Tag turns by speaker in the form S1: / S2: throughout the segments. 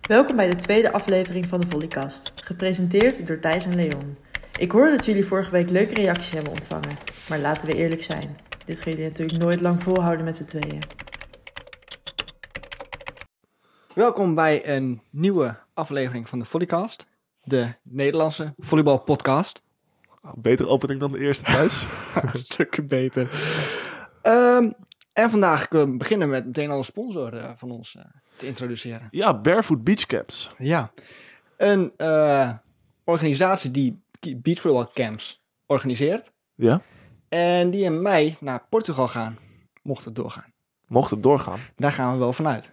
S1: Welkom bij de tweede aflevering van de Volleycast, gepresenteerd door Thijs en Leon. Ik hoorde dat jullie vorige week leuke reacties hebben ontvangen, maar laten we eerlijk zijn. Dit gaan jullie natuurlijk nooit lang volhouden met z'n tweeën.
S2: Welkom bij een nieuwe aflevering van de Volleycast, de Nederlandse volleybalpodcast.
S3: Oh, Betere opening dan de eerste thuis.
S2: Een stuk beter. Ehm, en vandaag kunnen we beginnen met meteen al een sponsor eh, van ons eh, te introduceren.
S3: ja, Barefoot Beachcaps.
S2: Ja. Een eh, organisatie die ki- beachvolleybalcamps organiseert.
S3: Ja,
S2: En die in mei naar Portugal gaan, mocht het doorgaan.
S3: mocht het doorgaan.
S2: Daar gaan we wel vanuit.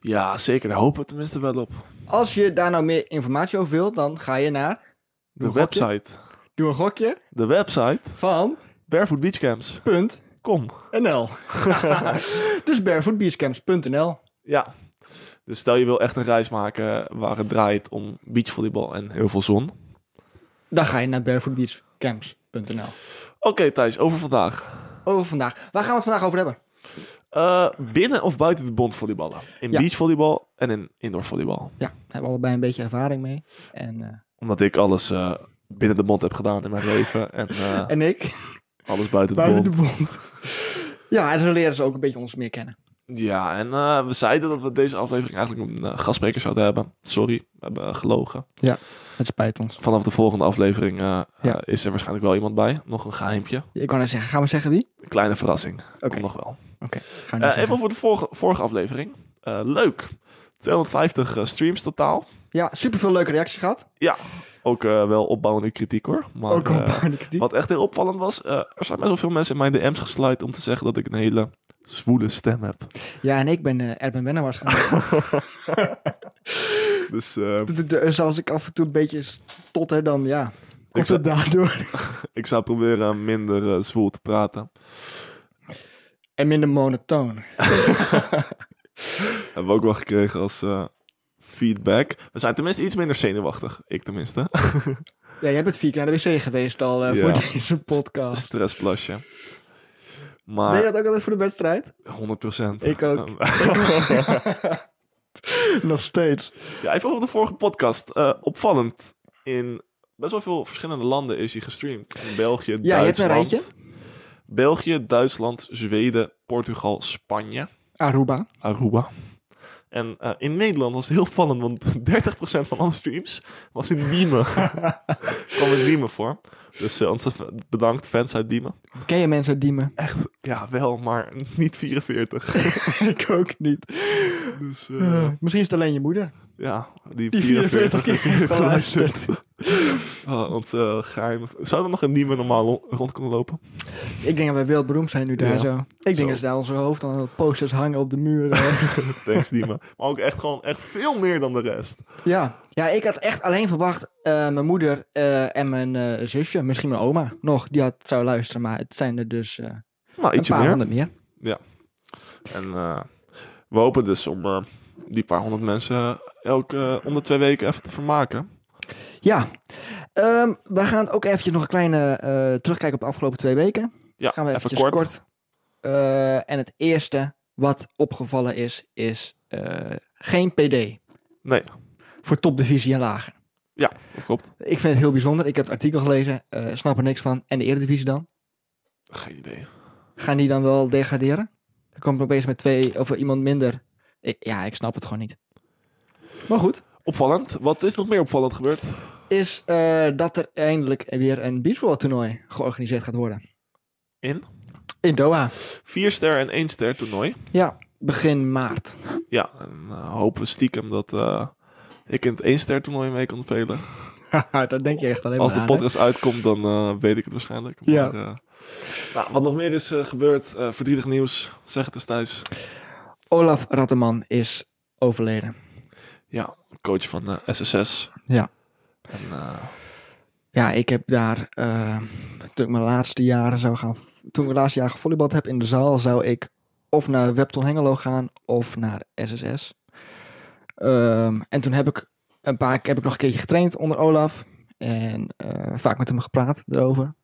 S3: Ja, zeker. Daar hopen we tenminste wel op.
S2: Als je daar nou meer informatie over wilt, dan ga je naar...
S3: De
S2: Doe een gokje.
S3: website.
S2: Doe een gokje
S3: De website
S2: van...
S3: barefootbeachcamps.com.
S2: Punt. NL. dus barefootbeachcamps.nl.
S3: Ja. Dus stel je wil echt een reis maken waar het draait om beachvolleybal en heel veel zon. Oké
S2: Dan ga je naar barefootbeachcamps.nl.
S3: Thijs, over vandaag.
S2: Over vandaag. Waar gaan we het vandaag over hebben?
S3: Eh, binnen of buiten de bond volleyballen? In
S2: Ja.
S3: beachvolleybal en in indoor
S2: Ja,
S3: volleybal.
S2: daar hebben we allebei een beetje ervaring mee. En, eh,
S3: Omdat ik alles eh, binnen de bond heb gedaan in mijn leven. En eh,
S2: en ik.
S3: alles buiten de
S2: Buiten
S3: bond.
S2: de bond. ja, en zo leren ze ook een beetje ons meer kennen.
S3: Ja, en eh, we zeiden dat we deze aflevering eigenlijk een eh, gastspreker zouden hebben. Sorry, we hebben eh, gelogen.
S2: Het spijt ons.
S3: Vanaf de volgende aflevering eh, eh,
S2: Ja.
S3: is er waarschijnlijk wel iemand bij. Nog een geheimpje.
S2: Ik wou net zeggen, gaan we zeggen wie?
S3: Een kleine verrassing.
S2: Oké,
S3: Komt nog wel.
S2: oké. Ga nou
S3: Eh,
S2: niet zeggen.
S3: even over de vorige, vorige aflevering. Eh, leuk. 250 eh, streams totaal.
S2: Ja, superveel leuke reacties gehad.
S3: Ook eh, wel opbouwende kritiek hoor. Maar,
S2: ook op
S3: eh,
S2: aan de kritiek.
S3: wat echt heel opvallend was, eh, er zijn best wel veel mensen in mijn DM's gesluit om te zeggen dat ik een hele zwoele stem heb.
S2: Ja, en ik ben eh Erben Wenner waarschijnlijk.
S3: Dus eh,
S2: D- d- dus als ik af en toe een beetje stotter, dan ja. Komt
S3: zou-
S2: het daardoor.
S3: ik zou proberen minder eh, zwoel te praten.
S2: En minder monotoon.
S3: Hebben we ook wel gekregen als eh, feedback. We zijn tenminste iets minder zenuwachtig. Ik tenminste.
S2: Ja, jij bent vier keer naar de wc geweest al eh,
S3: Ja.
S2: voor deze podcast.
S3: Stressplasje.
S2: Deed je
S3: Maar
S2: dat ook altijd voor de wedstrijd?
S3: 100%.
S2: Ik ook.
S3: Ehm,
S2: Nog steeds.
S3: ja, even over de vorige podcast. Eh, opvallend. In best wel veel verschillende landen is hij gestreamd. In België,
S2: Ja, je hebt een
S3: Duitsland.
S2: rijtje.
S3: België, Duitsland, Zweden, Portugal, Spanje,
S2: Aruba.
S3: Aruba. En eh, in Nederland was het heel opvallend, want 30% van alle streams was in Diemen. kwam in Diemen voor. Dus eh, ontzettend bedankt fans uit Diemen.
S2: Ken je mensen uit Diemen?
S3: Echt, ja, wel, maar niet 44.
S2: ik ook niet.
S3: Dus eh,
S2: Eh, misschien is het alleen je moeder.
S3: ja, die,
S2: Die 44 keer heeft geluisterd.
S3: Oh, ons eh, geheim. Zou er nog een nieuwe normaal lo- rond kunnen lopen?
S2: Ik denk dat wij wereldberoemd zijn nu daar
S3: Ja.
S2: zo. Ik denk
S3: Zo.
S2: dat ze daar onze hoofd aan posters hangen op de muur. eh.
S3: Thanks, Dima. Maar ook echt gewoon echt veel meer dan de rest.
S2: ja. ja, ik had echt alleen verwacht eh, mijn moeder eh, en mijn eh, zusje, misschien mijn oma nog, die had, zou luisteren. Maar het zijn er dus eh,
S3: Nou,
S2: een
S3: ietsje
S2: paar
S3: meer.
S2: honderd meer.
S3: En eh, we hopen dus om eh, die paar honderd mensen elke eh, om de twee weken even te vermaken.
S2: Ja, Ehm, we gaan ook eventjes nog een kleine eh terugkijken op de afgelopen twee weken.
S3: Ja,
S2: gaan we
S3: even
S2: eventjes
S3: kort.
S2: Eh, en het eerste wat opgevallen is, is eh, geen PD
S3: Nee,
S2: voor topdivisie en lager.
S3: dat klopt.
S2: Ik vind het heel bijzonder. Ik heb het artikel gelezen, eh, snap er niks van. En de eredivisie dan?
S3: Geen idee.
S2: Gaan die dan wel degraderen? Er komt opeens met twee of iemand minder. Ik- ja, ik snap het gewoon niet. Maar goed,
S3: Opvallend. Wat is nog meer opvallend gebeurd?
S2: is eh, dat er eindelijk weer een beachvolley toernooi georganiseerd gaat worden.
S3: In?
S2: In Doha.
S3: Vier ster en één ster toernooi.
S2: Ja, begin maart.
S3: Ja, en eh, hopen stiekem dat eh, ik in het één ster toernooi mee kan spelen.
S2: dat denk je echt alleen
S3: Als de podcast uitkomt, dan eh, weet ik het waarschijnlijk. Maar,
S2: Ja.
S3: eh, nou, wat nog meer is eh, gebeurd, eh verdrietig nieuws. Zeg het eens Thijs.
S2: Olaf Ratteman is overleden.
S3: Ja, coach van eh, SSS.
S2: Ja.
S3: En, eh,
S2: Ja, ik heb daar, eh, toen ik mijn laatste jaren zou gaan, toen ik mijn laatste jaar gevolleybald heb in de zaal, zou ik of naar Webton Hengelo gaan of naar SSS. Ehm, en toen heb ik een paar heb ik nog een keertje getraind onder Olaf en eh, vaak met hem gepraat erover.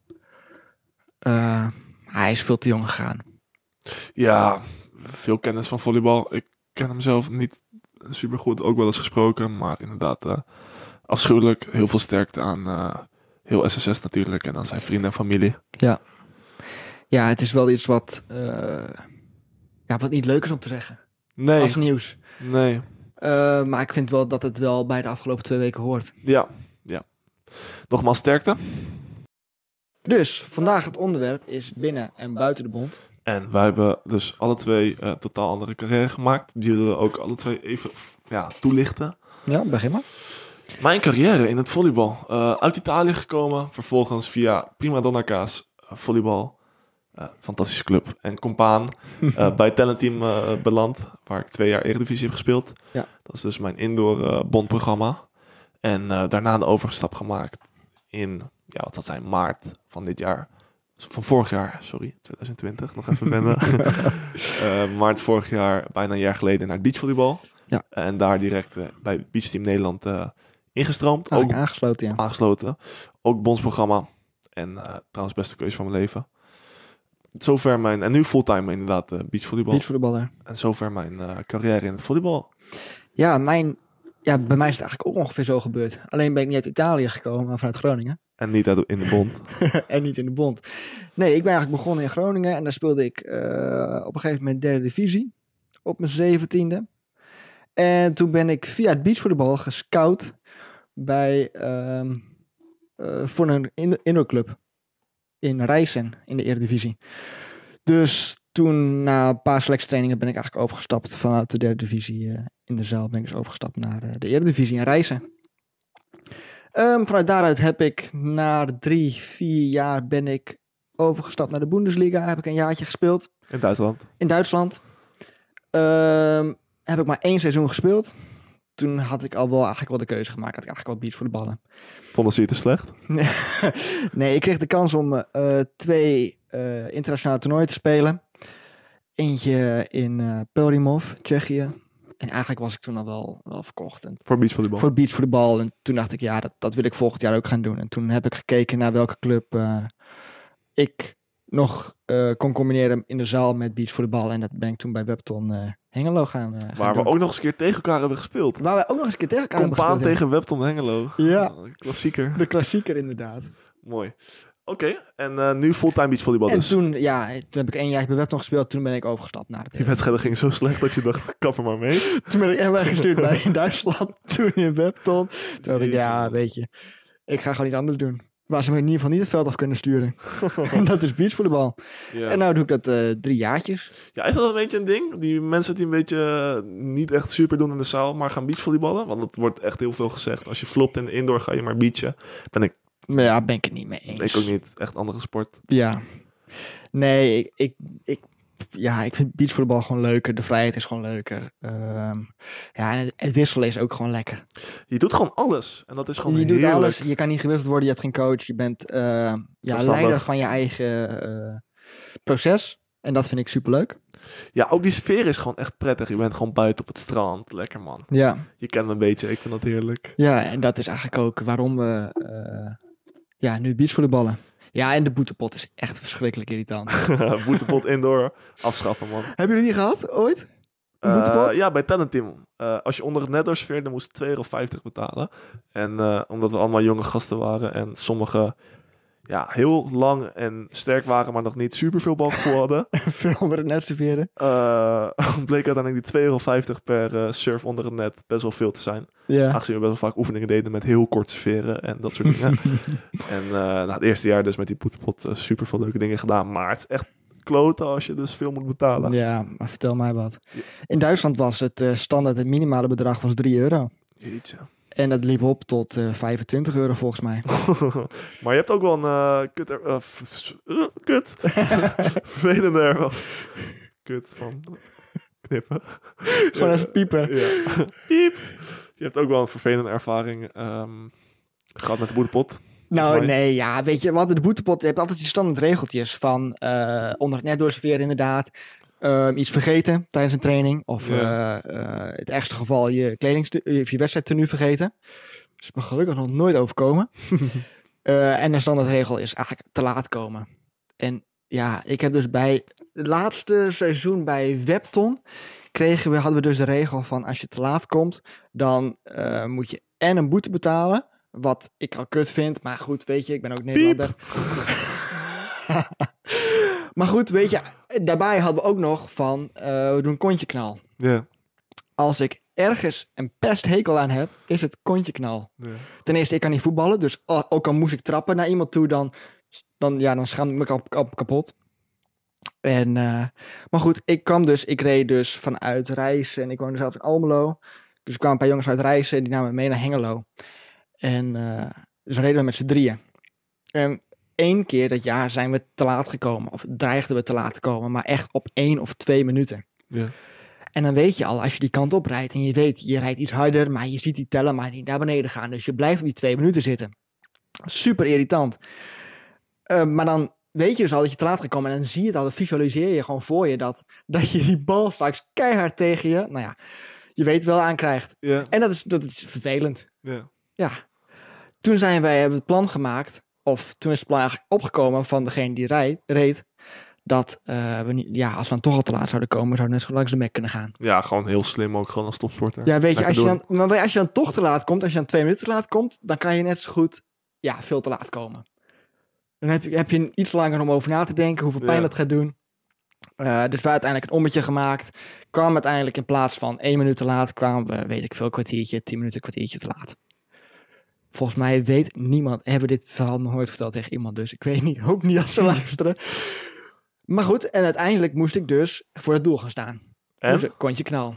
S2: Eh, hij is veel te jong gegaan.
S3: ja, veel kennis van volleybal. Ik ken hem zelf niet supergoed, ook wel eens gesproken. Maar inderdaad, eh, afschuwelijk. Heel veel sterkte aan eh, heel SSS natuurlijk en aan zijn vrienden en familie.
S2: Ja, het is wel iets wat, eh, ja, wat niet leuk is om te zeggen.
S3: Nee,
S2: Als nieuws.
S3: nee.
S2: Eh, maar ik vind wel dat het wel bij de afgelopen twee weken hoort.
S3: Ja, ja. Nogmaals sterkte.
S2: Dus, vandaag het onderwerp is binnen en buiten de bond.
S3: En wij hebben dus alle twee eh, totaal andere carrière gemaakt. Die willen we ook alle twee even f- ja, toelichten.
S2: Ja, begin maar.
S3: Mijn carrière in het volleybal. Eh, uit Italië gekomen, vervolgens via Prima Donna Kaas eh, volleybal. eh, fantastische club. En compaan eh, bij talentteam eh beland, waar ik twee jaar Eredivisie heb gespeeld.
S2: Ja.
S3: Dat is dus mijn indoor eh, bondprogramma. En eh, daarna een overstap gemaakt in, ja, wat dat zijn, maart van dit jaar. Van vorig jaar, sorry, 2020, nog even wennen. Eh, maart vorig jaar, bijna een jaar geleden, naar beachvolleybal.
S2: Ja.
S3: En daar direct eh, bij Beachteam Nederland eh, ingestroomd.
S2: Ook
S3: ook
S2: aangesloten, ja.
S3: aangesloten. Ook bondsprogramma. En eh, trouwens, beste keuze van mijn leven. Zover mijn... En nu fulltime inderdaad, eh, beachvolleybal.
S2: Beachvolleyballer.
S3: En zover mijn eh, carrière in het volleybal.
S2: Ja, mijn, ja, bij mij is het eigenlijk ook ongeveer zo gebeurd. Alleen ben ik niet uit Italië gekomen, maar vanuit Groningen.
S3: En niet uit- in de bond.
S2: en niet in de bond. Nee, ik ben eigenlijk begonnen in Groningen. En daar speelde ik eh, op een gegeven moment derde divisie. Op mijn zeventiende. En toen ben ik via het beachvolleybal gescout bij, ehm, eh, voor een in- indoorclub in Rijssen in de Eredivisie. Dus toen na een paar selecttrainingen ben ik eigenlijk overgestapt vanuit de derde divisie eh, in de zaal. Ben ik dus overgestapt naar eh, de Eredivisie in Rijssen. Ehm, vanuit daaruit heb ik na drie, vier jaar ben ik overgestapt naar de Bundesliga. Heb ik een jaartje gespeeld
S3: In Duitsland.
S2: in Duitsland. Ehm, heb ik maar één seizoen gespeeld. Toen had ik al wel eigenlijk wel de keuze gemaakt. Had ik eigenlijk wel beach voor de ballen.
S3: Vonden ze je te slecht?
S2: Nee, ik kreeg de kans om eh, twee eh, internationale toernooien te spelen. Eentje in eh Pelrimov, Tsjechië. En eigenlijk was ik toen al wel, wel verkocht. En
S3: Voor beachvolleybal.
S2: voor beachvoetbal. En toen dacht ik, ja, dat, dat wil ik volgend jaar ook gaan doen. En toen heb ik gekeken naar welke club eh, ik nog eh, kon combineren in de zaal met beachvoetbal. En dat ben ik toen bij Webton eh, Hengelo gaan, eh, gaan
S3: Waar we
S2: doen.
S3: ook nog eens een keer tegen elkaar hebben gespeeld.
S2: Waar we ook nog eens een keer tegen elkaar hebben
S3: Compaan
S2: gespeeld,
S3: tegen Webton Hengelo. Eh,
S2: Ja.
S3: Klassieker.
S2: ja. De klassieker inderdaad.
S3: Mooi. Oké, en eh, nu fulltime beachvolleybal
S2: en
S3: dus.
S2: toen, ja, toen heb ik één jaar bij Webton gespeeld. Toen ben ik overgestapt naar
S3: Die
S2: het...
S3: wedstrijd ging zo slecht dat je dacht, kap er maar mee.
S2: Toen ben ik heel erg gestuurd bij in Duitsland. Toen in Webton. Toen dacht ik,
S3: Jeetje,
S2: ja,
S3: man.
S2: weet je, ik ga gewoon iets anders doen. Waar ze me in ieder geval niet het veld af kunnen sturen. en dat is beachvoetbal.
S3: Ja.
S2: En nou doe ik dat eh, drie jaartjes.
S3: Ja, is dat een beetje een ding? Die mensen die een beetje eh, niet echt super doen in de zaal, maar gaan beachvolleyballen? Want dat wordt echt heel veel gezegd. Als je flopt in de indoor, ga je maar beachen. Ben ik,
S2: Maar ja, ben ik het niet mee eens.
S3: ik ook niet. Echt andere sport.
S2: Ja. Nee, ik, ik, ik, ja, ik vind beachvoetbal gewoon leuker. De vrijheid is gewoon leuker. Ehm, ja, en het, het wisselen is ook gewoon lekker.
S3: Je doet gewoon alles. En dat is gewoon
S2: je doet
S3: heerlijk.
S2: alles. Je kan niet gewisseld worden. Je hebt geen coach. Je bent eh, ja,
S3: Zelfstandig.
S2: leider van je eigen eh, proces. En dat vind ik superleuk.
S3: Ja, ook die sfeer is gewoon echt prettig. Je bent gewoon buiten op het strand. Lekker man.
S2: Ja.
S3: Je kent me een beetje. Ik vind dat heerlijk.
S2: Ja, en dat is eigenlijk ook waarom we eh ja, nu beachvoetballen. Ja, en de boetepot is echt verschrikkelijk irritant.
S3: Boetepot indoor. Afschaffen man.
S2: Hebben jullie die gehad ooit? Een
S3: Eh,
S2: boetepot?
S3: ja, bij Talent Team. Eh, als je onder het net doorsfeerde, dan moest je 2,50 euro betalen. En eh, omdat we allemaal jonge gasten waren en sommigen ja, heel lang en sterk waren, maar nog niet superveel balgevoel hadden,
S2: veel onder het net serveren.
S3: eh, bleek uiteindelijk die 2,50 euro per eh, surf onder het net best wel veel te zijn.
S2: Ja.
S3: Aangezien we best wel vaak oefeningen deden met heel kort serveren en dat soort dingen. en eh, na het eerste jaar dus met die poetpot eh, super veel leuke dingen gedaan. Maar het is echt kloten als je dus veel moet betalen.
S2: Ja, maar vertel mij wat. In Duitsland was het eh, standaard, het minimale bedrag was 3 euro.
S3: Jeetje.
S2: En dat liep op tot eh, 25 euro volgens mij.
S3: maar je hebt ook wel een eh, kut... Er, eh, f- s- eh, kut. Vervelende er wel. Kut van knippen.
S2: Gewoon
S3: Ja,
S2: even piepen.
S3: Ja. Piep. Je hebt ook wel een vervelende ervaring ehm, gehad met de boetepot.
S2: Nou,
S3: Mooi.
S2: nee, ja, weet je, we hadden de boetepot. Je hebt altijd die standaard regeltjes van eh, onder het net doorserveren inderdaad. Ehm, iets vergeten tijdens een training. Of
S3: Ja.
S2: eh, eh, het ergste geval je kleding of je wedstrijdtenue vergeten. Dat is me gelukkig nog nooit overkomen. Eh, en een standaardregel is eigenlijk te laat komen. En ja, ik heb dus bij het laatste seizoen bij Webton... kregen we, hadden we dus de regel van als je te laat komt, dan eh, moet je en een boete betalen. Wat ik al kut vind, maar goed, weet je, ik ben ook Nederlander. maar goed, weet je, daarbij hadden we ook nog van, eh, we doen kontjeknal.
S3: Ja.
S2: Als ik ergens een pesthekel aan heb, is het kontjeknal.
S3: ja.
S2: Ten eerste, ik kan niet voetballen, dus al- ook al moest ik trappen naar iemand toe, dan, dan, ja, dan schaamde ik me kap- kap- kapot. En, eh, maar goed, ik kwam dus, ik reed dus vanuit Rijssen en ik woonde zelf in Almelo. Dus er kwamen een paar jongens uit Rijssen en die namen me mee naar Hengelo. En eh, dus we reden we met z'n drieën. En één keer dat jaar zijn we te laat gekomen, of dreigden we te laat te komen, maar echt op één of twee minuten.
S3: Ja.
S2: En dan weet je al, als je die kant op rijdt en je weet, je rijdt iets harder, maar je ziet die tellen maar niet naar beneden gaan. Dus je blijft op die twee minuten zitten. Super irritant. Eh, maar dan weet je dus al dat je te laat gaat komen en dan zie je het al, dan visualiseer je gewoon voor je dat, dat je die bal straks keihard tegen je, nou ja, je weet wel aankrijgt.
S3: Ja.
S2: En dat is, dat is vervelend.
S3: Ja.
S2: Ja. Toen zijn wij, hebben we het plan gemaakt, of toen is het plan eigenlijk opgekomen van degene die rij- reed, dat eh, we niet, ja, als we dan toch al te laat zouden komen, zouden we net zo goed langs de mek kunnen gaan.
S3: ja, gewoon heel slim ook gewoon als topsporter.
S2: Ja, weet je,
S3: Lekker
S2: als je,
S3: doen.
S2: dan, maar weet je, als je dan toch te laat komt, als je dan twee minuten te laat komt, dan kan je net zo goed ja, veel te laat komen. Dan heb je, heb je iets langer om over na te denken hoeveel pijn
S3: Ja.
S2: dat gaat doen. Eh, dus wij uiteindelijk een ommetje gemaakt. Kwam uiteindelijk in plaats van één minuut te laat, kwamen we, weet ik veel, kwartiertje, tien minuten, kwartiertje te laat. Volgens mij weet niemand, hebben we dit verhaal nog nooit verteld tegen iemand, dus ik weet niet, ook niet als ze luisteren. Maar goed, en uiteindelijk moest ik dus voor het doel gaan staan. Dus
S3: En?
S2: een kontje knal.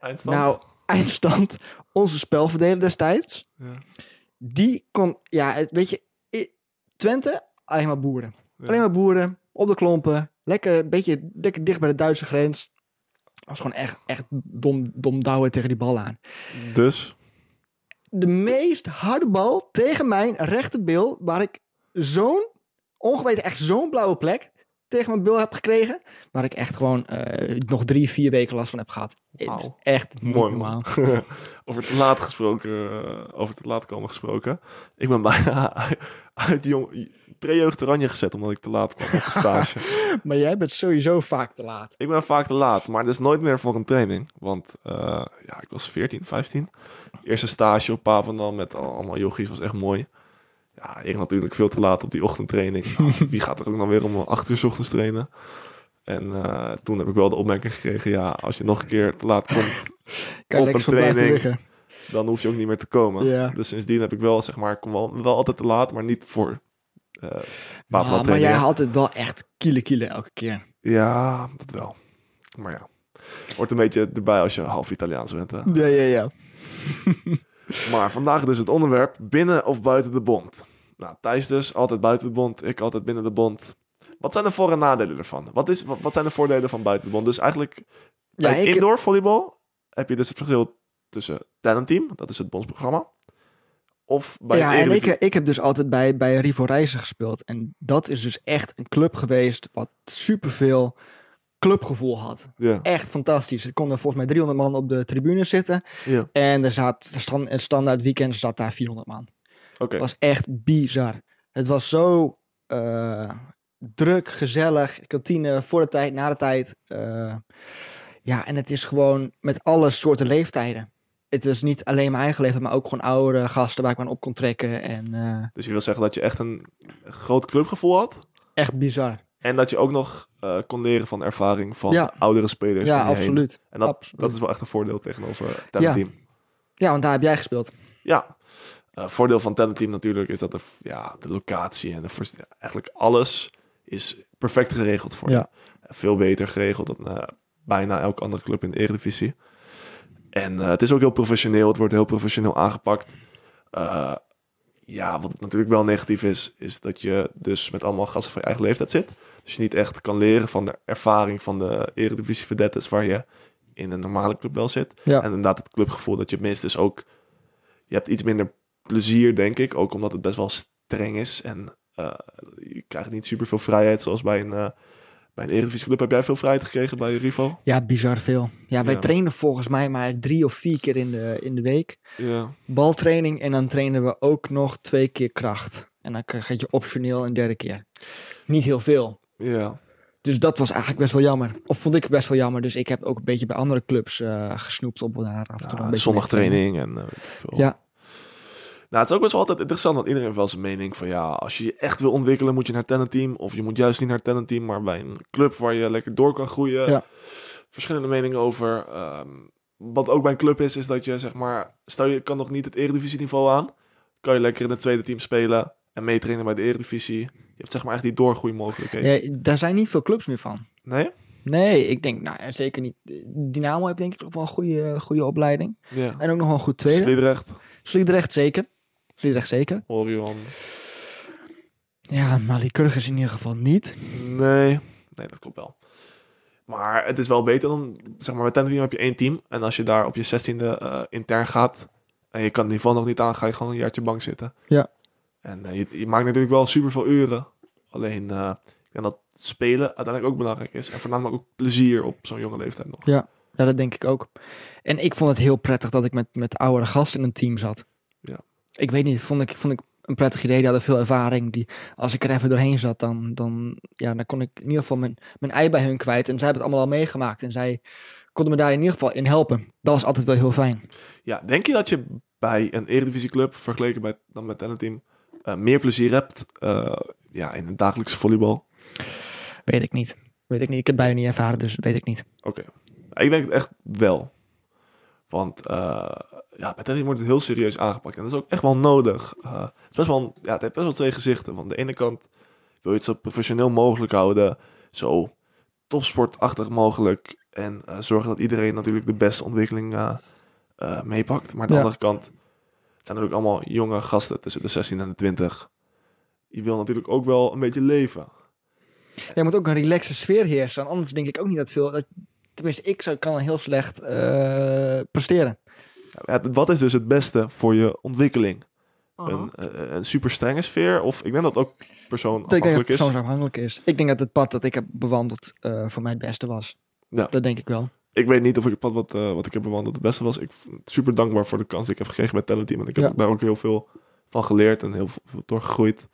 S3: Eindstand?
S2: Nou, eindstand. Onze spelverdeler destijds.
S3: Ja.
S2: Die kon, ja, het- weet je, i- Twente, alleen maar boeren.
S3: Ja.
S2: Alleen maar boeren, op de klompen. Lekker, een beetje lekker dicht bij de Duitse grens. Dat was gewoon echt, echt dom, dom douwen tegen die bal aan.
S3: Dus?
S2: De meest harde bal tegen mijn rechterbil, waar ik zo'n, ongeweten echt zo'n blauwe plek tegen mijn bil heb gekregen. Waar ik echt gewoon eh, nog drie, vier weken last van heb gehad.
S3: Wauw.
S2: Echt niet
S3: Mooi
S2: normaal.
S3: man. over te laat gesproken, eh, over te laat komen gesproken. Ik ben bijna uit jong, pre-jeugd oranje gezet omdat ik te laat kwam op een stage.
S2: Maar jij bent sowieso vaak te laat.
S3: Ik ben vaak te laat, maar dus nooit meer voor een training. Want eh, ja, ik was 14, 15. Eerste stage op Papendal met al- allemaal jochies was echt mooi. Ja, ik natuurlijk veel te laat op die ochtendtraining. Nou, wie gaat er ook dan weer om 8 uur 's ochtends trainen? En eh, toen heb ik wel de opmerking gekregen, ja, als je nog een keer te laat komt,
S2: Kan
S3: Op
S2: lekker
S3: een
S2: zo blijven
S3: training.
S2: liggen.
S3: dan hoef je ook niet meer te komen.
S2: Ja.
S3: Dus sindsdien heb ik wel, zeg maar, ik kom wel, wel altijd te laat, maar niet voor
S2: Ah,
S3: eh Papendal
S2: maar jij
S3: trainingen.
S2: had het wel echt kiele kiele elke keer.
S3: Ja, dat wel. Maar ja, wordt een beetje erbij als je half Italiaans bent, hè?
S2: Ja, ja, ja.
S3: Maar vandaag dus het onderwerp binnen of buiten de bond. Nou, Thijs dus altijd buiten de bond, ik altijd binnen de bond. Wat zijn de voor- en nadelen ervan? Wat, is, wat, wat zijn de voordelen van buiten de bond? Dus eigenlijk
S2: Ja,
S3: bij
S2: ik,
S3: indoor volleybal heb je dus het verschil tussen talentteam, dat is het bondsprogramma, of bij
S2: ja
S3: het
S2: en ik,
S3: Eredivisie-
S2: ik heb dus altijd bij, bij Rivo Reizen gespeeld. En dat is dus echt een club geweest wat superveel clubgevoel had.
S3: Ja,
S2: Echt fantastisch. Er konden volgens mij 300 man op de tribune zitten.
S3: ja. oké.
S2: En er zat, er stand- het standaard weekend zat daar 400 man. Het was echt bizar. Het was zo eh, druk, gezellig. Kantine voor de tijd, na de tijd. eh, ja, en het is gewoon met alle soorten leeftijden. Het was niet alleen mijn eigen leven, maar ook gewoon oudere gasten waar ik me aan op kon trekken. En eh,
S3: Dus je wil zeggen dat je echt een groot clubgevoel had
S2: echt bizar.
S3: en dat je ook nog eh, kon leren van de ervaring van
S2: Ja.
S3: oudere spelers.
S2: ja,
S3: om je heen.
S2: absoluut.
S3: En dat,
S2: absoluut.
S3: dat is wel echt een voordeel tegenover talentteam.
S2: Ja, want daar heb jij gespeeld.
S3: Ja. Eh, voordeel van Talentteam natuurlijk is dat de, f- ja, de locatie en de, vers- ja, eigenlijk alles is perfect geregeld voor
S2: Ja.
S3: je. Eh, Veel beter geregeld dan eh, bijna elke andere club in de Eredivisie. En eh, het is ook heel professioneel. Het wordt heel professioneel aangepakt. Eh, ja, wat natuurlijk wel negatief is, is dat je dus met allemaal gasten van je eigen leeftijd zit. Dus je niet echt kan leren van de ervaring van de Eredivisie verdettes waar je in een normale club wel zit.
S2: Ja.
S3: En inderdaad het clubgevoel dat je mist. Dus ook, je hebt iets minder plezier, denk ik. Ook omdat het best wel streng is. En eh, je krijgt niet super veel vrijheid. Zoals bij een, eh bij een Eredivisie club heb jij veel vrijheid gekregen bij Rivo.
S2: Ja, bizar veel. Ja, wij
S3: Ja.
S2: trainen volgens mij maar drie of vier keer in de, in de week.
S3: Ja.
S2: baltraining en dan trainen we ook nog twee keer kracht. En dan krijg je optioneel een derde keer. Niet heel veel.
S3: Ja.
S2: Dus dat was eigenlijk best wel jammer. Of vond ik best wel jammer. Dus ik heb ook een beetje bij andere clubs eh, gesnoept om daar af en toe nog een
S3: Ja,
S2: beetje
S3: zondagtraining Ah, en eh, weet ik veel.
S2: Ja.
S3: Nou, het is ook best wel altijd interessant, want iedereen heeft wel zijn mening van ja, als je je echt wil ontwikkelen moet je naar tennisteam of je moet juist niet naar tennisteam, maar bij een club waar je lekker door kan groeien.
S2: Ja.
S3: Verschillende meningen over. Ehm, wat ook bij een club is, is dat je zeg maar, stel je kan nog niet het eredivisieniveau aan, kan je lekker in het tweede team spelen en meetrainen bij de eredivisie. Je hebt zeg maar echt die doorgroeimogelijkheden.
S2: Ja, daar zijn niet veel clubs meer van.
S3: Nee?
S2: Nee, ik denk, nou, zeker niet. Dynamo heeft denk ik ook wel een goede, goede opleiding.
S3: Ja.
S2: En ook nog wel een goed tweede.
S3: Sliedrecht,
S2: Sliedrecht zeker. Sliedrecht zeker.
S3: Orion.
S2: Ja, Malikurg is in ieder geval niet.
S3: Nee. Nee, dat klopt wel. Maar het is wel beter dan, zeg maar, met tennisteam heb je één team. En als je daar op je zestiende eh, intern gaat en je kan het niveau nog niet aan, ga je gewoon een jaartje bank zitten.
S2: Ja.
S3: En eh, je, je maakt natuurlijk wel superveel uren. Alleen, eh ik denk dat spelen uiteindelijk ook belangrijk is. En voornamelijk ook plezier op zo'n jonge leeftijd nog.
S2: Ja, Nou, dat denk ik ook. En ik vond het heel prettig dat ik met, met oudere gasten in een team zat.
S3: Ja.
S2: Ik weet niet, vond ik, vond ik een prettig idee. Die hadden veel ervaring. Die, als ik er even doorheen zat, dan, dan, ja, dan kon ik in ieder geval mijn, mijn ei bij hun kwijt. En zij hebben het allemaal al meegemaakt. En zij konden me daar in ieder geval in helpen. Dat was altijd wel heel fijn.
S3: Ja, denk je dat je bij een eredivisieclub, vergeleken bij, dan met een team, eh, meer plezier hebt eh, ja, in het dagelijkse volleybal?
S2: Weet ik niet. Weet ik niet. Ik heb het bij hun niet ervaren, dus dat weet ik niet.
S3: Oké. Ik denk het echt wel. Want eh ja, bij Teddy wordt het heel serieus aangepakt. En dat is ook echt wel nodig. Eh, het, is best wel, een- ja, het heeft best wel twee gezichten. Want aan de ene kant wil je het zo professioneel mogelijk houden. Zo topsportachtig mogelijk. En eh, zorgen dat iedereen natuurlijk de beste ontwikkeling eh, eh, meepakt. Maar aan de
S2: Ja.
S3: andere kant het zijn natuurlijk allemaal jonge gasten tussen de 16 en de 20. Je wil natuurlijk ook wel een beetje leven.
S2: Er moet ook een relaxe sfeer heersen. Anders denk ik ook niet dat veel... Dat, tenminste, ik zou, kan heel slecht eh, presteren.
S3: Ja, wat is dus het beste voor je ontwikkeling? een, eh, een super strenge sfeer. Of ik denk dat ook persoon
S2: Ik denk dat het
S3: afhankelijk is.
S2: persoonsafhankelijk is. Ik denk dat het pad dat ik heb bewandeld eh, voor mij het beste was.
S3: Ja.
S2: Dat denk ik wel.
S3: Ik weet niet of ik het pad wat, eh, wat ik heb bewandeld het beste was. Ik ben super dankbaar voor de kans die ik heb gekregen bij Teleteam. En ik heb
S2: Ja.
S3: daar ook heel veel van geleerd en heel veel, veel doorgegroeid.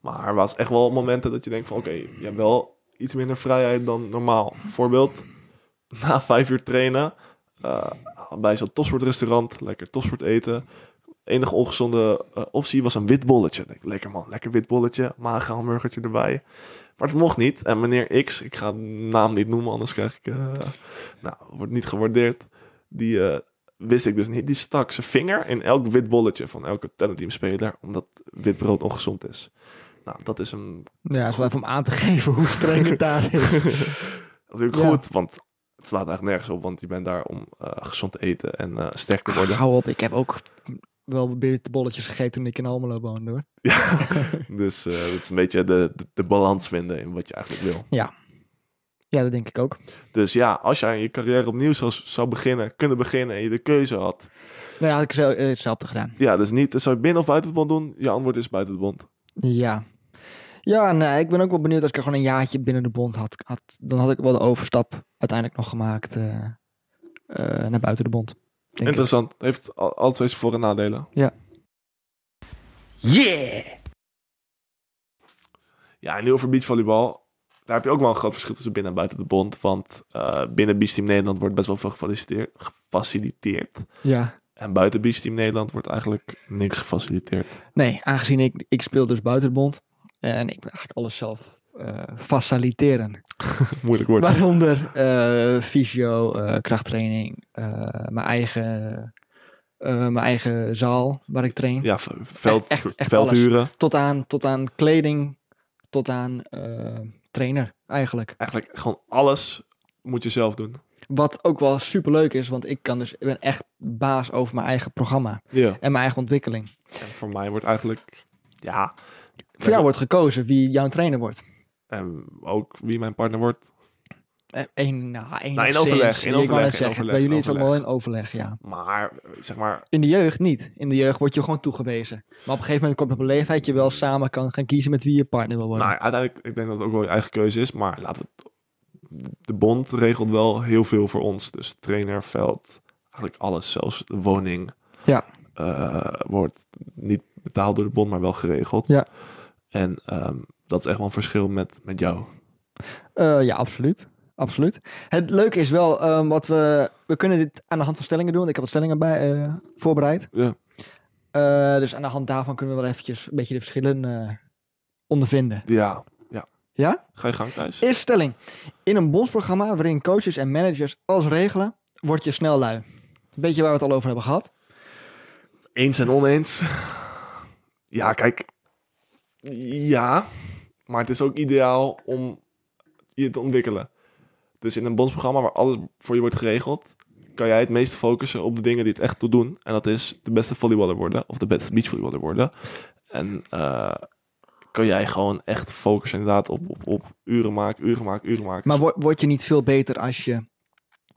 S3: Maar er was echt wel momenten dat je denkt van... Oké, je hebt wel iets minder vrijheid dan normaal. Bijvoorbeeld, na vijf uur trainen... eh, bij zo'n topsportrestaurant, lekker topsport eten... enige ongezonde eh, optie was een wit bolletje. Ik denk, lekker man, lekker wit bolletje, magenhamburgertje erbij. Maar het mocht niet. En meneer X, ik ga de naam niet noemen, anders krijg ik... eh, nou, wordt niet gewaardeerd. Die eh, wist ik dus niet. Die stak zijn vinger in elk wit bolletje van elke tennisteamspeler, omdat wit brood ongezond is. Nou, dat is hem
S2: Ja, het is wel even om aan te geven hoe streng het daar is.
S3: natuurlijk
S2: Ja.
S3: goed, want het slaat eigenlijk nergens op, want je bent daar om eh, gezond te eten en eh, sterk te worden.
S2: hou op, ik heb ook wel bitterbolletjes gegeten toen ik in Almelo woonde hoor.
S3: Ja, dus eh, dat is een beetje de, de, de balans vinden in wat je eigenlijk wil.
S2: Ja, dat denk ik ook.
S3: Dus ja, als jij je carrière opnieuw zou, zou beginnen, kunnen beginnen en je de keuze had.
S2: Nou ja, had ik zo- eh, hetzelfde gedaan.
S3: Ja, dus niet, zou je binnen of buiten het bond doen? Je antwoord is buiten het bond.
S2: Ja. Ja, nee, ik ben ook wel benieuwd als ik er gewoon een jaartje binnen de bond had. had dan had ik wel de overstap uiteindelijk nog gemaakt eh, eh, naar buiten de bond. denk ik.
S3: Interessant. Heeft al, al twee zijn voor- en nadelen.
S2: Yeah!
S3: Ja, en nu over beachvolleybal. Daar heb je ook wel een groot verschil tussen binnen en buiten de bond. Want eh, binnen Beach Team Nederland wordt best wel veel gefaciliteerd. gefaciliteerd.
S2: Ja.
S3: En buiten Beach Team Nederland wordt eigenlijk niks gefaciliteerd.
S2: Nee, aangezien ik, ik speel dus buiten de bond. En ik wil eigenlijk alles zelf eh, faciliteren.
S3: Moeilijk woord.
S2: Waaronder eh, fysio, eh, krachttraining, eh, mijn, eigen, eh, mijn eigen zaal waar ik train.
S3: Ja, v- veld,
S2: echt- echt
S3: veldhuren.
S2: Tot, aan, tot aan kleding, tot aan eh, trainer eigenlijk.
S3: Eigenlijk gewoon alles moet je zelf doen.
S2: Wat ook wel superleuk is, want ik, kan dus, ik ben echt baas over mijn eigen programma
S3: Ja.
S2: en mijn eigen ontwikkeling.
S3: En voor mij wordt eigenlijk... Ja.
S2: Voor jou wordt gekozen wie jouw trainer wordt.
S3: En ook wie mijn partner wordt.
S2: Eh, Eén, nou, één
S3: Nou, in overleg, in overleg, in
S2: zeggen,
S3: overleg,
S2: bij
S3: in
S2: jullie is dat wel
S3: overleg.
S2: in overleg, ja.
S3: Maar eh, zeg maar...
S2: In de jeugd niet. In de jeugd word je gewoon toegewezen. Maar op een gegeven moment komt op een leeftijd je wel samen kan gaan kiezen met wie je partner wil worden.
S3: Nou, uiteindelijk, ik denk dat het ook wel je eigen keuze is. Maar laten we... het- De bond regelt wel heel veel voor ons. Dus trainer, veld, eigenlijk alles. Zelfs de woning.
S2: Ja.
S3: eh, wordt niet betaald door de bond, maar wel geregeld.
S2: Ja.
S3: En ehm, dat is echt wel een verschil met, met jou.
S2: Eh, ja, absoluut. Absoluut. Het leuke is wel, ehm, wat we, we kunnen dit aan de hand van stellingen doen. Ik heb wat stellingen bij, eh, voorbereid.
S3: Ja.
S2: Eh, dus aan de hand daarvan kunnen we wel eventjes een beetje de verschillen eh, ondervinden.
S3: Ja. ja.
S2: Ja?
S3: Ga je gang thuis.
S2: Eerste stelling. In een bondsprogramma waarin coaches en managers alles regelen, word je snel lui. Beetje waar we het al over hebben gehad.
S3: Eens en oneens. Ja, kijk. Ja, maar het is ook ideaal om je te ontwikkelen. Dus in een bondsprogramma waar alles voor je wordt geregeld, kan jij het meest focussen op de dingen die het echt toe doen. En dat is de beste volleyballer worden of de beste beachvolleyballer worden. En eh, kan jij gewoon echt focussen inderdaad op, op, op uren maken, uren maken, uren maken.
S2: Maar wor- word je niet veel beter als je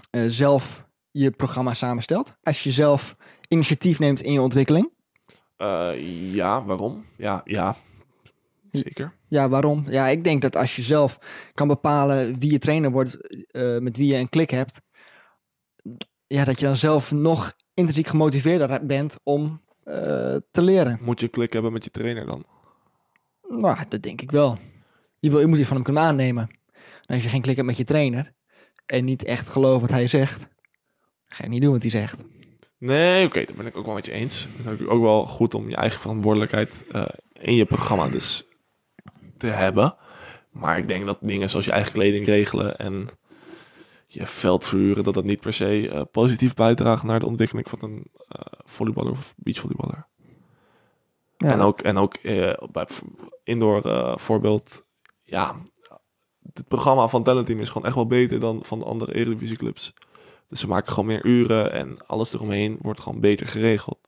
S2: eh, zelf je programma samenstelt? Als je zelf initiatief neemt in je ontwikkeling?
S3: Eh, ja, waarom? Ja, ja. Zeker.
S2: Ja, waarom? Ja, ik denk dat als je zelf kan bepalen wie je trainer wordt, eh, met wie je een klik hebt, ja, dat je dan zelf nog intrinsiek gemotiveerder bent om eh, te leren.
S3: Moet je klik hebben met je trainer dan?
S2: Nou, dat denk ik wel. Je, wil, je moet iets van hem kunnen aannemen. En als je geen klik hebt met je trainer en niet echt gelooft wat hij zegt, ga je niet doen wat hij zegt.
S3: Nee, oké, dat ben ik ook wel met je eens. Het is natuurlijk ook wel goed om je eigen verantwoordelijkheid eh, in je programma dus te hebben. Maar ik denk dat dingen zoals je eigen kleding regelen en je veld verhuren, dat dat niet per se eh, positief bijdraagt naar de ontwikkeling van een eh, volleyballer of beachvolleyballer.
S2: Ja.
S3: En ook, en ook eh, bij v- indoor eh, voorbeeld, ja, het programma van Talent Team is gewoon echt wel beter dan van de andere Eredivisie clubs. Dus ze maken gewoon meer uren en alles eromheen wordt gewoon beter geregeld.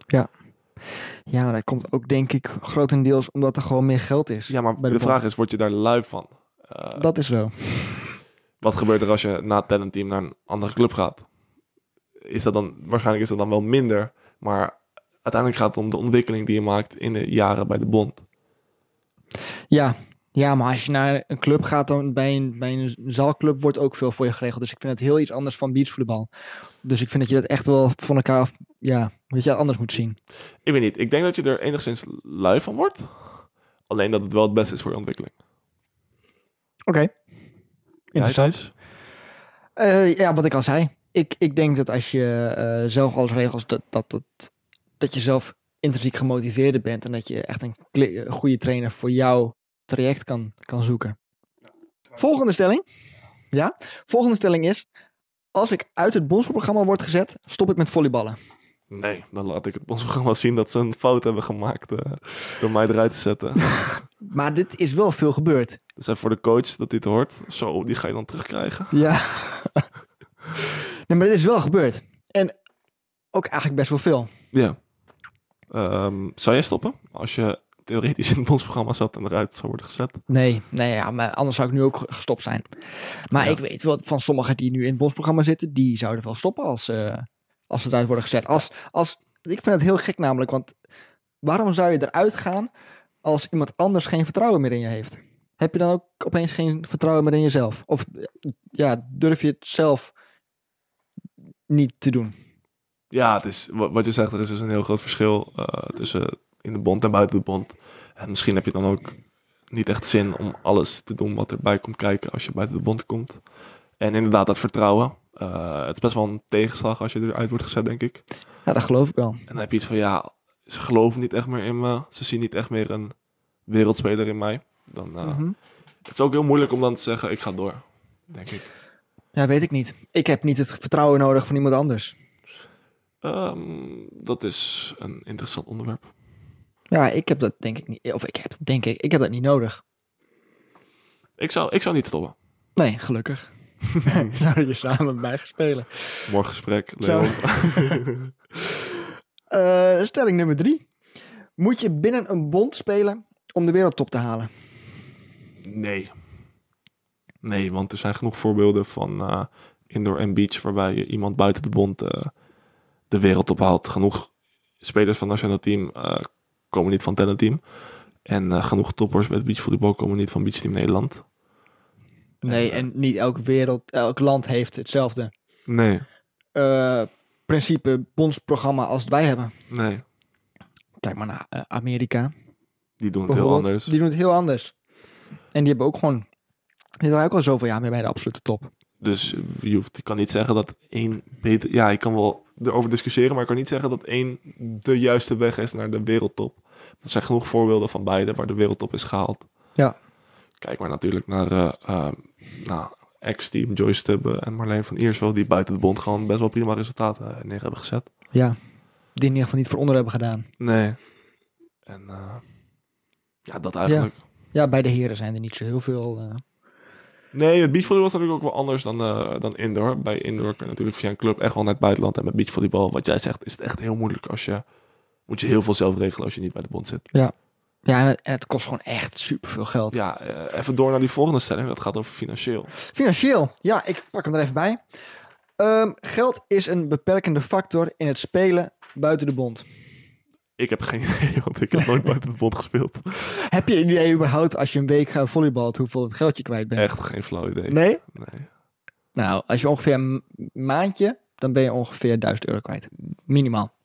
S2: Ja, maar dat komt ook denk ik grotendeels omdat er gewoon meer geld is.
S3: Ja, maar
S2: Bij de
S3: de vraag is, word je daar lui van? Eh,
S2: Dat is zo.
S3: Wat gebeurt er als je na het Talent Team naar een andere club gaat? Is dat dan, waarschijnlijk is dat dan wel minder, maar uiteindelijk gaat het om de ontwikkeling die je maakt in de jaren bij de bond.
S2: Ja. ja, maar als je naar een club gaat, dan bij een, bij een zaalclub wordt ook veel voor je geregeld. Dus ik vind het heel iets anders van beachvoetbal. Dus ik vind dat je dat echt wel van elkaar af, ja, dat je dat anders moet zien.
S3: Ik weet niet, ik denk dat je er enigszins lui van wordt. Alleen dat het wel het beste is voor je ontwikkeling.
S2: Oké. Interessant.
S3: Jij, Thijs?
S2: Eh, ja, wat ik al zei. Ik, ik denk dat als je eh, zelf alles regelt, dat, dat, dat, dat je zelf intrinsiek gemotiveerder bent. En dat je echt een kle- goede trainer voor jouw traject kan, kan zoeken. Volgende stelling. Ja, volgende stelling is... Als ik uit het bondsprogramma word gezet, stop ik met volleyballen.
S3: Nee, dan laat ik het bondsprogramma zien dat ze een fout hebben gemaakt eh, door mij eruit te zetten.
S2: Maar dit is wel veel gebeurd.
S3: Dus even voor de coach dat dit hoort. Zo, die ga je dan terugkrijgen.
S2: Ja. nee, maar dit is wel gebeurd. En ook eigenlijk best wel veel.
S3: Ja. Ehm, zou jij stoppen als je theoretisch in het bondsprogramma zat en eruit zou worden gezet?
S2: Nee, nee ja, maar anders zou ik nu ook ge- gestopt zijn. Maar
S3: Ja.
S2: ik weet wel van sommigen die nu in het bosprogramma zitten, die zouden wel stoppen als, eh, als ze eruit worden gezet. Als, als, ik vind het heel gek namelijk, want waarom zou je eruit gaan als iemand anders geen vertrouwen meer in je heeft? Heb je dan ook opeens geen vertrouwen meer in jezelf? Of eh, ja, durf je het zelf niet te doen?
S3: Ja, het is, wa- wat je zegt, er is dus een heel groot verschil eh, tussen in de bond en buiten de bond. En misschien heb je dan ook niet echt zin om alles te doen wat erbij komt kijken als je buiten de bond komt. En inderdaad, dat vertrouwen. eh, het is best wel een tegenslag als je eruit wordt gezet, denk ik.
S2: Ja, dat geloof ik wel.
S3: En dan heb je iets van, ja, ze geloven niet echt meer in me. Ze zien niet echt meer een wereldspeler in mij. Dan, eh,
S2: Mhm.
S3: Het is ook heel moeilijk om dan te zeggen, ik ga door, denk ik.
S2: Ja, weet ik niet. Ik heb niet het vertrouwen nodig van iemand anders.
S3: Ehm, dat is een interessant onderwerp.
S2: Ja, ik heb dat denk ik niet. Of ik heb dat denk ik. Ik heb dat niet nodig.
S3: Ik zou, ik zou niet stoppen.
S2: Nee, gelukkig. Zouden je samen bij gaan spelen.
S3: Morgen gesprek,
S2: Zo.
S3: Leon.
S2: Eh, stelling nummer drie. Moet je binnen een bond spelen om de wereldtop te halen?
S3: Nee. Nee, want er zijn genoeg voorbeelden van eh, indoor en beach... waarbij je iemand buiten de bond eh, de wereld ophaalt. Genoeg spelers van het nationaal team eh, komen niet van het team. En eh, genoeg toppers bij het beachvolleybal komen niet van beachteam Nederland.
S2: Nee,
S3: Eh,
S2: en niet elk, wereld, elk land heeft hetzelfde
S3: Nee,
S2: eh, principe bondsprogramma als wij hebben.
S3: nee.
S2: Kijk maar naar eh, Amerika.
S3: Die doen het heel
S2: bijvoorbeeld.
S3: anders.
S2: Die doen het heel anders. En die hebben ook gewoon Die draaien ook al zoveel jaar mee bij de absolute top.
S3: Dus je hoeft, ik kan niet zeggen dat één beter... Ja, ik kan wel erover discussiëren, maar ik kan niet zeggen dat één de juiste weg is naar de wereldtop. Er zijn genoeg voorbeelden van beide waar de wereldtop is gehaald.
S2: Ja.
S3: Kijk maar natuurlijk naar eh, eh, nou, ex-team Joyce Stubbe en Marleen van Eersel, die buiten de bond gewoon best wel prima resultaten eh, neer hebben gezet.
S2: Ja. Die in ieder geval niet voor onder hebben gedaan.
S3: Nee. En eh, ja, dat eigenlijk.
S2: Ja, bij de heren zijn er niet zo heel veel. eh,
S3: Nee, het beachvolleybal is natuurlijk ook wel anders dan, eh, dan indoor. Bij indoor kun je natuurlijk via een club echt wel naar het buitenland. En met beachvolleybal, wat jij zegt, is het echt heel moeilijk als je... Moet je heel veel zelf regelen als je niet bij de bond zit.
S2: Ja, en het, en het kost gewoon echt superveel geld.
S3: Ja, eh, even door naar die volgende stelling. Dat gaat over financieel.
S2: Financieel. Ja, ik pak hem er even bij. Ehm, geld is een beperkende factor in het spelen buiten de bond.
S3: Ik heb geen idee, want ik heb nooit buiten de bond gespeeld.
S2: Heb je een idee überhaupt als je een week gaat volleybalt hoeveel het geld je kwijt bent?
S3: Echt geen flauw idee.
S2: Nee?
S3: Nee.
S2: Nou, als je ongeveer een maandje, dan ben je ongeveer 1000 euro kwijt. Minimaal.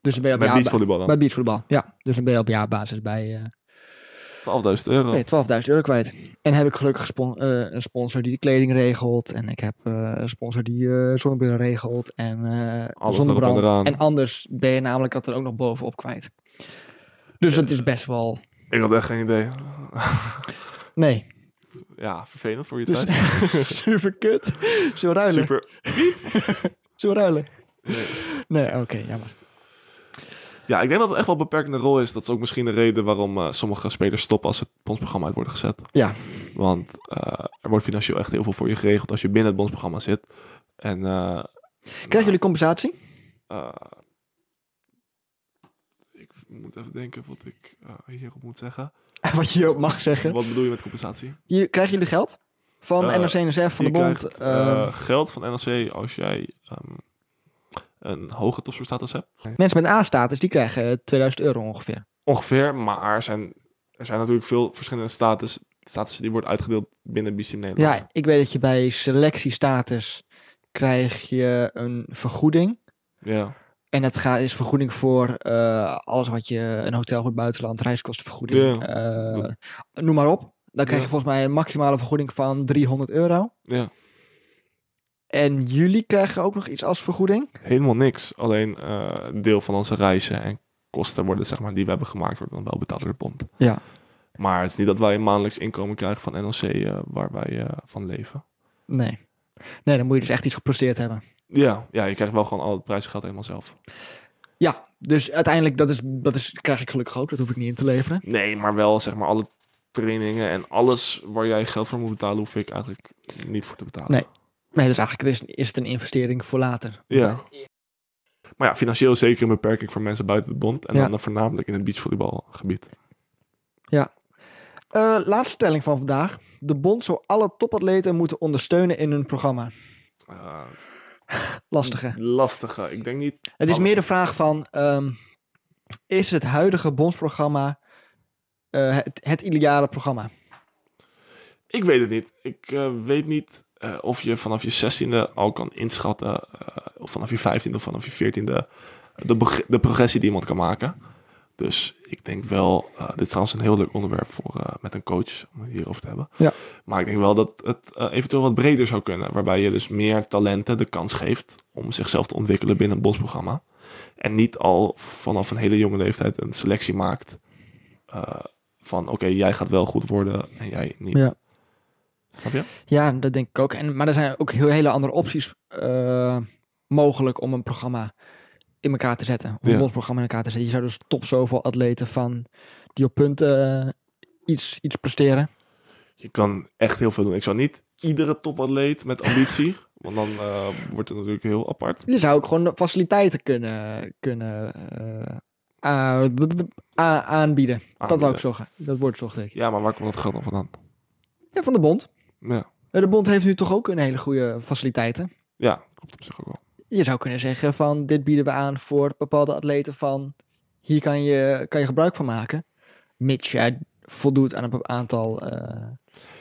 S2: Dus dan ben je op
S3: Met
S2: jaarba-
S3: beachvolleybal dan.
S2: bij beachvoetbal. Ja, dus dan ben je op jaarbasis bij eh
S3: 12.000 euro.
S2: nee, 12.000 euro kwijt. En heb ik gelukkig spon- eh, een sponsor die de kleding regelt. En ik heb eh, een sponsor die eh zonnebrillen regelt. En eh
S3: Alles erop en eraan.
S2: zonnebrand. En anders ben je namelijk dat er ook nog bovenop kwijt. Dus dat is best wel...
S3: Ik had echt geen idee.
S2: Nee,
S3: Ja, vervelend voor je
S2: Dus-
S3: thuis.
S2: super kut. Zo ruilen.
S3: Super.
S2: Zo ruilen.
S3: Nee.
S2: Nee, oké, jammer.
S3: Ja, ik denk dat het echt wel een beperkende rol is. Dat is ook misschien de reden waarom eh, sommige spelers stoppen als het bondsprogramma uit wordt gezet.
S2: Ja.
S3: Want eh, er wordt financieel echt heel veel voor je geregeld als je binnen het bondsprogramma zit. En eh,
S2: Krijgen jullie compensatie?
S3: eh, ik moet even denken wat ik eh, hierop moet zeggen.
S2: Wat je ook mag zeggen.
S3: Wat bedoel je met compensatie?
S2: Jullie- krijgen jullie geld? Van
S3: Eh,
S2: NOC NSF, van de
S3: je
S2: bond?
S3: krijgt
S2: eh,
S3: eh, geld van NLC als jij ehm, een hoge topsportstatus hebt.
S2: mensen met een A-status, die krijgen eh, 2000 euro ongeveer.
S3: Ongeveer, maar er zijn, er zijn natuurlijk veel verschillende status, statussen die worden uitgedeeld binnen BCM Nederland.
S2: Ja, ik weet dat je bij selectiestatus krijg je een vergoeding.
S3: ja.
S2: En dat gaat, is vergoeding voor eh, alles wat je... Een hotel voor het buitenland, reiskostenvergoeding.
S3: Ja.
S2: eh, noem maar op. Dan krijg je
S3: Ja.
S2: volgens mij een maximale vergoeding van 300 euro.
S3: Ja,
S2: En jullie krijgen ook nog iets als vergoeding.
S3: helemaal niks. Alleen eh, een deel van onze reizen en kosten worden, zeg maar, die we hebben gemaakt, worden dan wel betaald door de bond.
S2: Ja.
S3: Maar het is niet dat wij een maandelijks inkomen krijgen van NLC eh, waar wij eh, van leven.
S2: Nee. Nee, dan moet je dus echt iets gepresteerd hebben.
S3: Ja, ja, je krijgt wel gewoon al het prijsgeld helemaal zelf.
S2: Ja, dus uiteindelijk, dat, is, dat is, krijg ik gelukkig ook. Dat hoef ik niet in te leveren.
S3: Nee, maar wel zeg maar alle trainingen en alles waar jij geld voor moet betalen, hoef ik eigenlijk niet voor te betalen.
S2: Nee. Nee, dus eigenlijk is, is het een investering voor later.
S3: Ja. Maar ja, financieel is zeker een beperking voor mensen buiten de bond. En
S2: Ja.
S3: dan voornamelijk in het beachvolleybalgebied.
S2: Eh, laatste stelling van vandaag. De bond zou alle topatleten moeten ondersteunen in hun programma.
S3: Eh,
S2: Lastige.
S3: lastige. Ik denk niet
S2: Het is
S3: Alle-
S2: meer de vraag van... ehm, is het huidige bondsprogramma eh, het, het ideale programma?
S3: Ik weet het niet. Ik eh, weet niet eh, of je vanaf je zestiende al kan inschatten, eh, of vanaf je vijftiende of vanaf je veertiende, eh, de, beg- de progressie die iemand kan maken. Dus ik denk wel, eh, dit is trouwens een heel leuk onderwerp voor, eh, met een coach, om het hierover te hebben.
S2: Ja.
S3: Maar ik denk wel dat het eh, eventueel wat breder zou kunnen, waarbij je dus meer talenten de kans geeft om zichzelf te ontwikkelen binnen een bosprogramma. En niet al vanaf een hele jonge leeftijd een selectie maakt eh, van oké, jij gaat wel goed worden en jij niet.
S2: Ja.
S3: Snap je?
S2: Ja, dat denk ik ook. En, maar er zijn ook heel, hele andere opties eh, mogelijk om een programma in elkaar te zetten. Om
S3: Ja.
S2: een bondsprogramma in elkaar te zetten. Je zou dus top zoveel atleten van die op punten eh, iets, iets presteren.
S3: Je kan echt heel veel doen. Ik zou niet iedere topatleet met ambitie, want dan eh, wordt het natuurlijk heel apart.
S2: Je zou ook gewoon de faciliteiten kunnen, kunnen eh, a- b- b- a- aanbieden. Dat wou ik zeggen. Dat woord zocht ik.
S3: Ja, maar waar komt dat geld dan vandaan?
S2: Ja, van de bond.
S3: Ja,
S2: Eh, De bond heeft nu toch ook een hele goede faciliteiten.
S3: ja klopt op zich ook wel.
S2: je zou kunnen zeggen van dit bieden we aan voor bepaalde atleten van hier kan je, kan je gebruik van maken. Mits jij voldoet aan een bepa- aantal eh,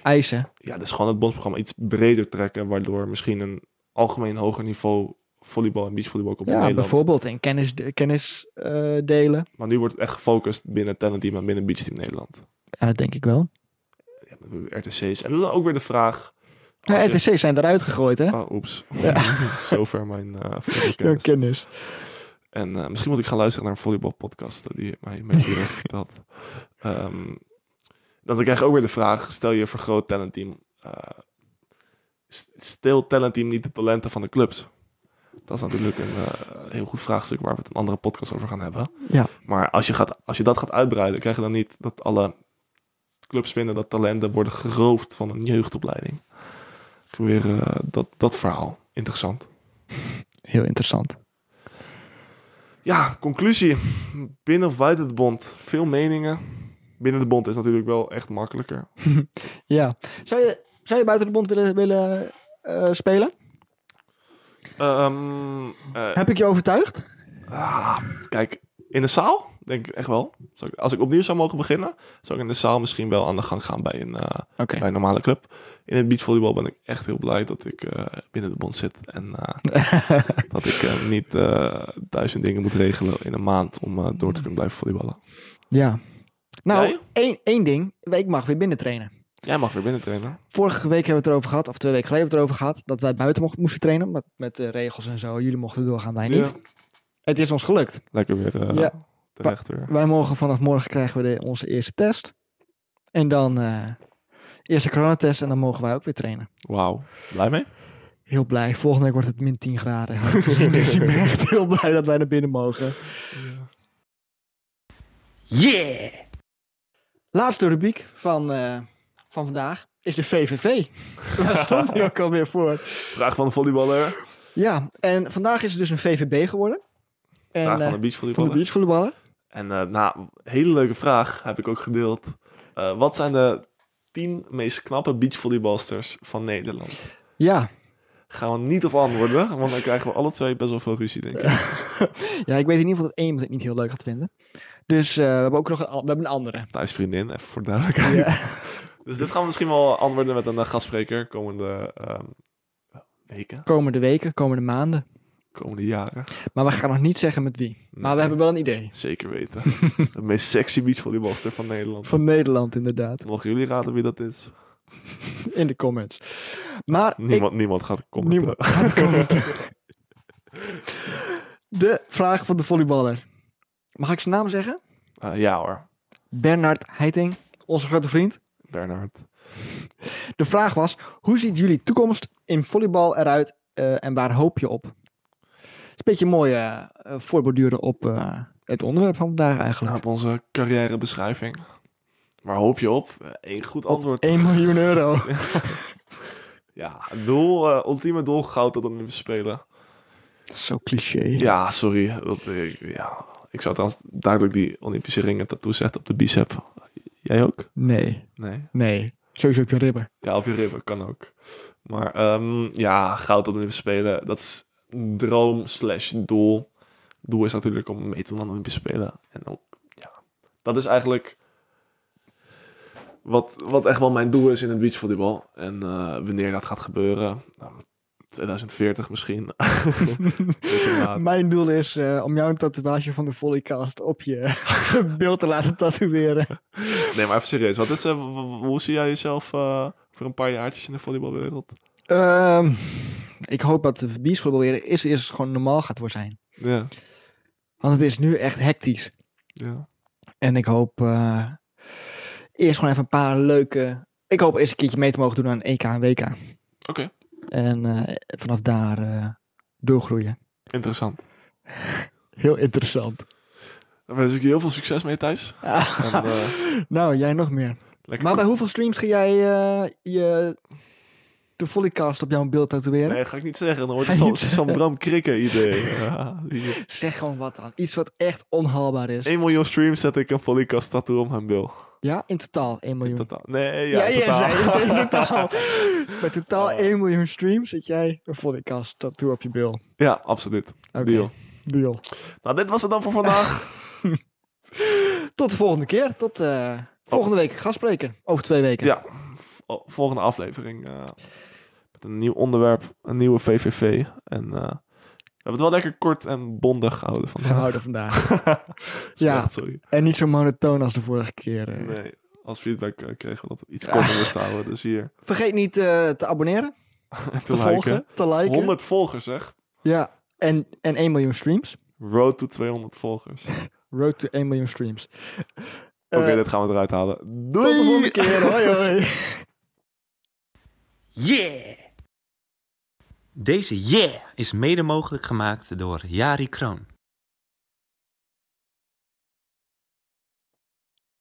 S2: eisen.
S3: Ja, dus gewoon het bondsprogramma iets breder trekken, waardoor misschien een algemeen hoger niveau volleybal en beachvolleybal komt in
S2: ja,
S3: Nederland.
S2: bijvoorbeeld in kennis, de- kennis eh, delen.
S3: Maar nu wordt het echt gefocust binnen Talent Team en binnen Beach Team Nederland.
S2: Ja, dat denk ik wel.
S3: Ja, RTC's. En dan ook weer de vraag...
S2: Ja,
S3: als je-
S2: RTC's zijn eruit gegooid, hè?
S3: Oh, oeps. Zover mijn eh
S2: Ja,
S3: voetbalkennis.
S2: kennis.
S3: En eh, misschien moet ik gaan luisteren naar een volleybalpodcast eh, die mij mijn moeder heeft verteld. Ehm, dan krijg je ook weer de vraag, stel je voor groot talentteam, eh st- steelt talentteam niet de talenten van de clubs? Dat is natuurlijk een eh, heel goed vraagstuk waar we het een andere podcast over gaan hebben.
S2: Ja.
S3: Maar als je, gaat, als je dat gaat uitbreiden, krijg je dan niet dat alle clubs vinden dat talenten worden geroofd van een jeugdopleiding. Ik Weer eh, dat, dat verhaal. Interessant.
S2: Heel interessant.
S3: Ja, conclusie. Binnen of buiten de bond. Veel meningen. Binnen de bond is natuurlijk wel echt makkelijker.
S2: Ja. Zou je, zou je buiten de bond willen, willen eh, spelen?
S3: Ehm, eh,
S2: Heb ik je overtuigd?
S3: ah, kijk, in de zaal denk ik echt wel. Zou ik- als ik opnieuw zou mogen beginnen, zou ik in de zaal misschien wel aan de gang gaan bij een, eh,
S2: Oké.
S3: bij een normale club. In het beachvolleybal ben ik echt heel blij dat ik eh, binnen de bond zit. En eh, dat ik eh, niet eh, duizend dingen moet regelen in een maand om eh, door te kunnen blijven volleyballen.
S2: Ja. Nou,
S3: Jij?
S2: één, één ding. Ik mag weer binnen trainen.
S3: Jij mag weer binnen trainen.
S2: Vorige week hebben we het erover gehad, of twee weken geleden hebben we het erover gehad, dat wij buiten mochten, moesten trainen. Met, met de regels en zo. Jullie mochten doorgaan, wij niet.
S3: Ja,
S2: Het is ons gelukt.
S3: lekker weer eh,
S2: Ja.
S3: terecht weer.
S2: Wij mogen vanaf morgen krijgen we de, onze eerste test. En dan eh eerste coronatest en dan mogen wij ook weer trainen.
S3: Wauw. Blij mee?
S2: Heel blij. Volgende week wordt het min 10 graden. dus ik ben echt heel blij dat wij naar binnen mogen. Yeah! Laatste rubriek van, eh, van vandaag is de VVV. Daar stond hij ook alweer voor.
S3: Vraag van de volleyballer.
S2: Ja, en vandaag is het dus een VVB geworden. En,
S3: Vraag
S2: eh,
S3: van de
S2: van de
S3: beachvolleyballer.
S2: beachvolleyballer.
S3: En eh, nou, hele leuke vraag heb ik ook gedeeld. Eh, wat zijn de tien meest knappe beachvolleybalsters van Nederland?
S2: Ja.
S3: Gaan we niet op antwoorden, want dan krijgen we alle twee best wel veel ruzie, denk ik.
S2: ja, ik weet in ieder geval dat één iemand het niet heel leuk gaat vinden. Dus eh, we hebben ook nog een, an- we hebben een andere.
S3: Thijs vriendin, even voor duidelijkheid. Dus dit gaan we misschien wel antwoorden met een eh, gastspreker komende ehm, weken,
S2: Komende weken, komende maanden.
S3: komende jaren.
S2: Maar we gaan nog niet zeggen met wie. Maar
S3: Nee.
S2: we hebben wel een idee.
S3: Zeker weten. de meest sexy beachvolleybalster van Nederland.
S2: Van Nederland inderdaad.
S3: Mogen jullie raden wie dat is?
S2: In de comments. Maar ik,
S3: Niemand, niemand gaat commenten.
S2: Niemand gaat commenten. de vraag van de volleyballer. Mag ik zijn naam zeggen?
S3: Eh, ja hoor,
S2: Bernard Heiting, onze grote vriend.
S3: Bernhard.
S2: De vraag was, hoe ziet jullie toekomst in volleybal eruit eh, en waar hoop je op? Het is een beetje mooi eh, eh, voorborduren op eh, het onderwerp van vandaag
S3: Nou,
S2: eigenlijk.
S3: op onze carrièrebeschrijving. Waar hoop je op? Eén goed antwoord.
S2: 1 miljoen euro.
S3: Ja, het doel, eh, ultieme doel, goud dat we spelen.
S2: Zo cliché.
S3: Ja, sorry. Dat, eh, ik, ja. ik zou trouwens duidelijk die Olympische ringen tattoo zetten op de bicep. Jij ook?
S2: Nee,
S3: Nee.
S2: nee. Sowieso op je ribben.
S3: Ja, op je ribben kan ook. Maar ehm, ja, goud dat we spelen, dat is een droom slash doel. Doel is natuurlijk om mee te doen aan de Olympische Spelen. En ook, ja, dat is eigenlijk wat, wat echt wel mijn doel is in het beachvolleybal. En eh, wanneer dat gaat gebeuren, nou, 2040 misschien. Beetje laat.
S2: Mijn doel is eh, om jou een tatoeage van de volleycast op je beeld te laten tatoeëren.
S3: nee, maar even serieus. Wat is, eh, w- w- hoe zie jij jezelf eh, voor een paar jaartjes in de volleybalwereld?
S2: Ehm, ik hoop dat de beachvolleybal is, is gewoon normaal gaat voor zijn.
S3: Ja,
S2: Want het is nu echt hectisch.
S3: ja.
S2: En ik hoop eh, eerst gewoon even een paar leuke. Ik hoop eerst een keertje mee te mogen doen aan EK en WK. Oké.
S3: Oké.
S2: En eh, vanaf daar eh, doorgroeien.
S3: Interessant. Daar wens ik je heel veel succes mee, Thijs. En, eh,
S2: nou, jij nog meer.
S3: lekker-
S2: Maar bij hoeveel streams ga jij eh, je, de volleycast op jouw beeld tatoeëren?
S3: Nee, ga ik niet zeggen. Dan wordt
S2: Ga
S3: het
S2: je
S3: zo'n
S2: niet
S3: zo'n Bram Krikken idee.
S2: Zeg gewoon wat dan. Iets wat echt onhaalbaar is.
S3: 1 miljoen streams zet ik een volleycast tattoo om hem wil.
S2: Ja, in totaal 1 miljoen.
S3: Totaal. Nee, ja,
S2: jij
S3: totaal.
S2: zei het, in totaal. Met totaal
S3: Oh.
S2: 1 miljoen streams zit jij een volleycast tattoo op je bil.
S3: Ja, absoluut.
S2: Oké.
S3: Deal.
S2: Deal.
S3: Nou, dit was het dan voor vandaag.
S2: Tot de volgende keer. Tot eh, volgende week. Gastspreker. Over twee weken.
S3: Ja, v- Oh, volgende aflevering. eh, met een nieuw onderwerp, een nieuwe VVV. En eh, we hebben het wel lekker kort en bondig gehouden vandaag.
S2: Gehouden vandaag.
S3: Slecht, sorry.
S2: En niet zo monotoon als de vorige keer. eh.
S3: Nee. als feedback eh, kregen we dat het iets korter moest houden. Dus hier,
S2: Vergeet niet eh, te abonneren,
S3: te,
S2: te,
S3: liken.
S2: volgen, te liken.
S3: 100 volgers, zeg.
S2: Ja, en, en 1 miljoen streams.
S3: Road to 200 volgers. Oké,
S2: Road to 1 miljoen streams. Eh,
S3: dit gaan we eruit halen. Doei!
S2: Tot de volgende keer. Hoi hoi.
S4: Yeah! Deze yeah is mede mogelijk gemaakt door Jari Kroon.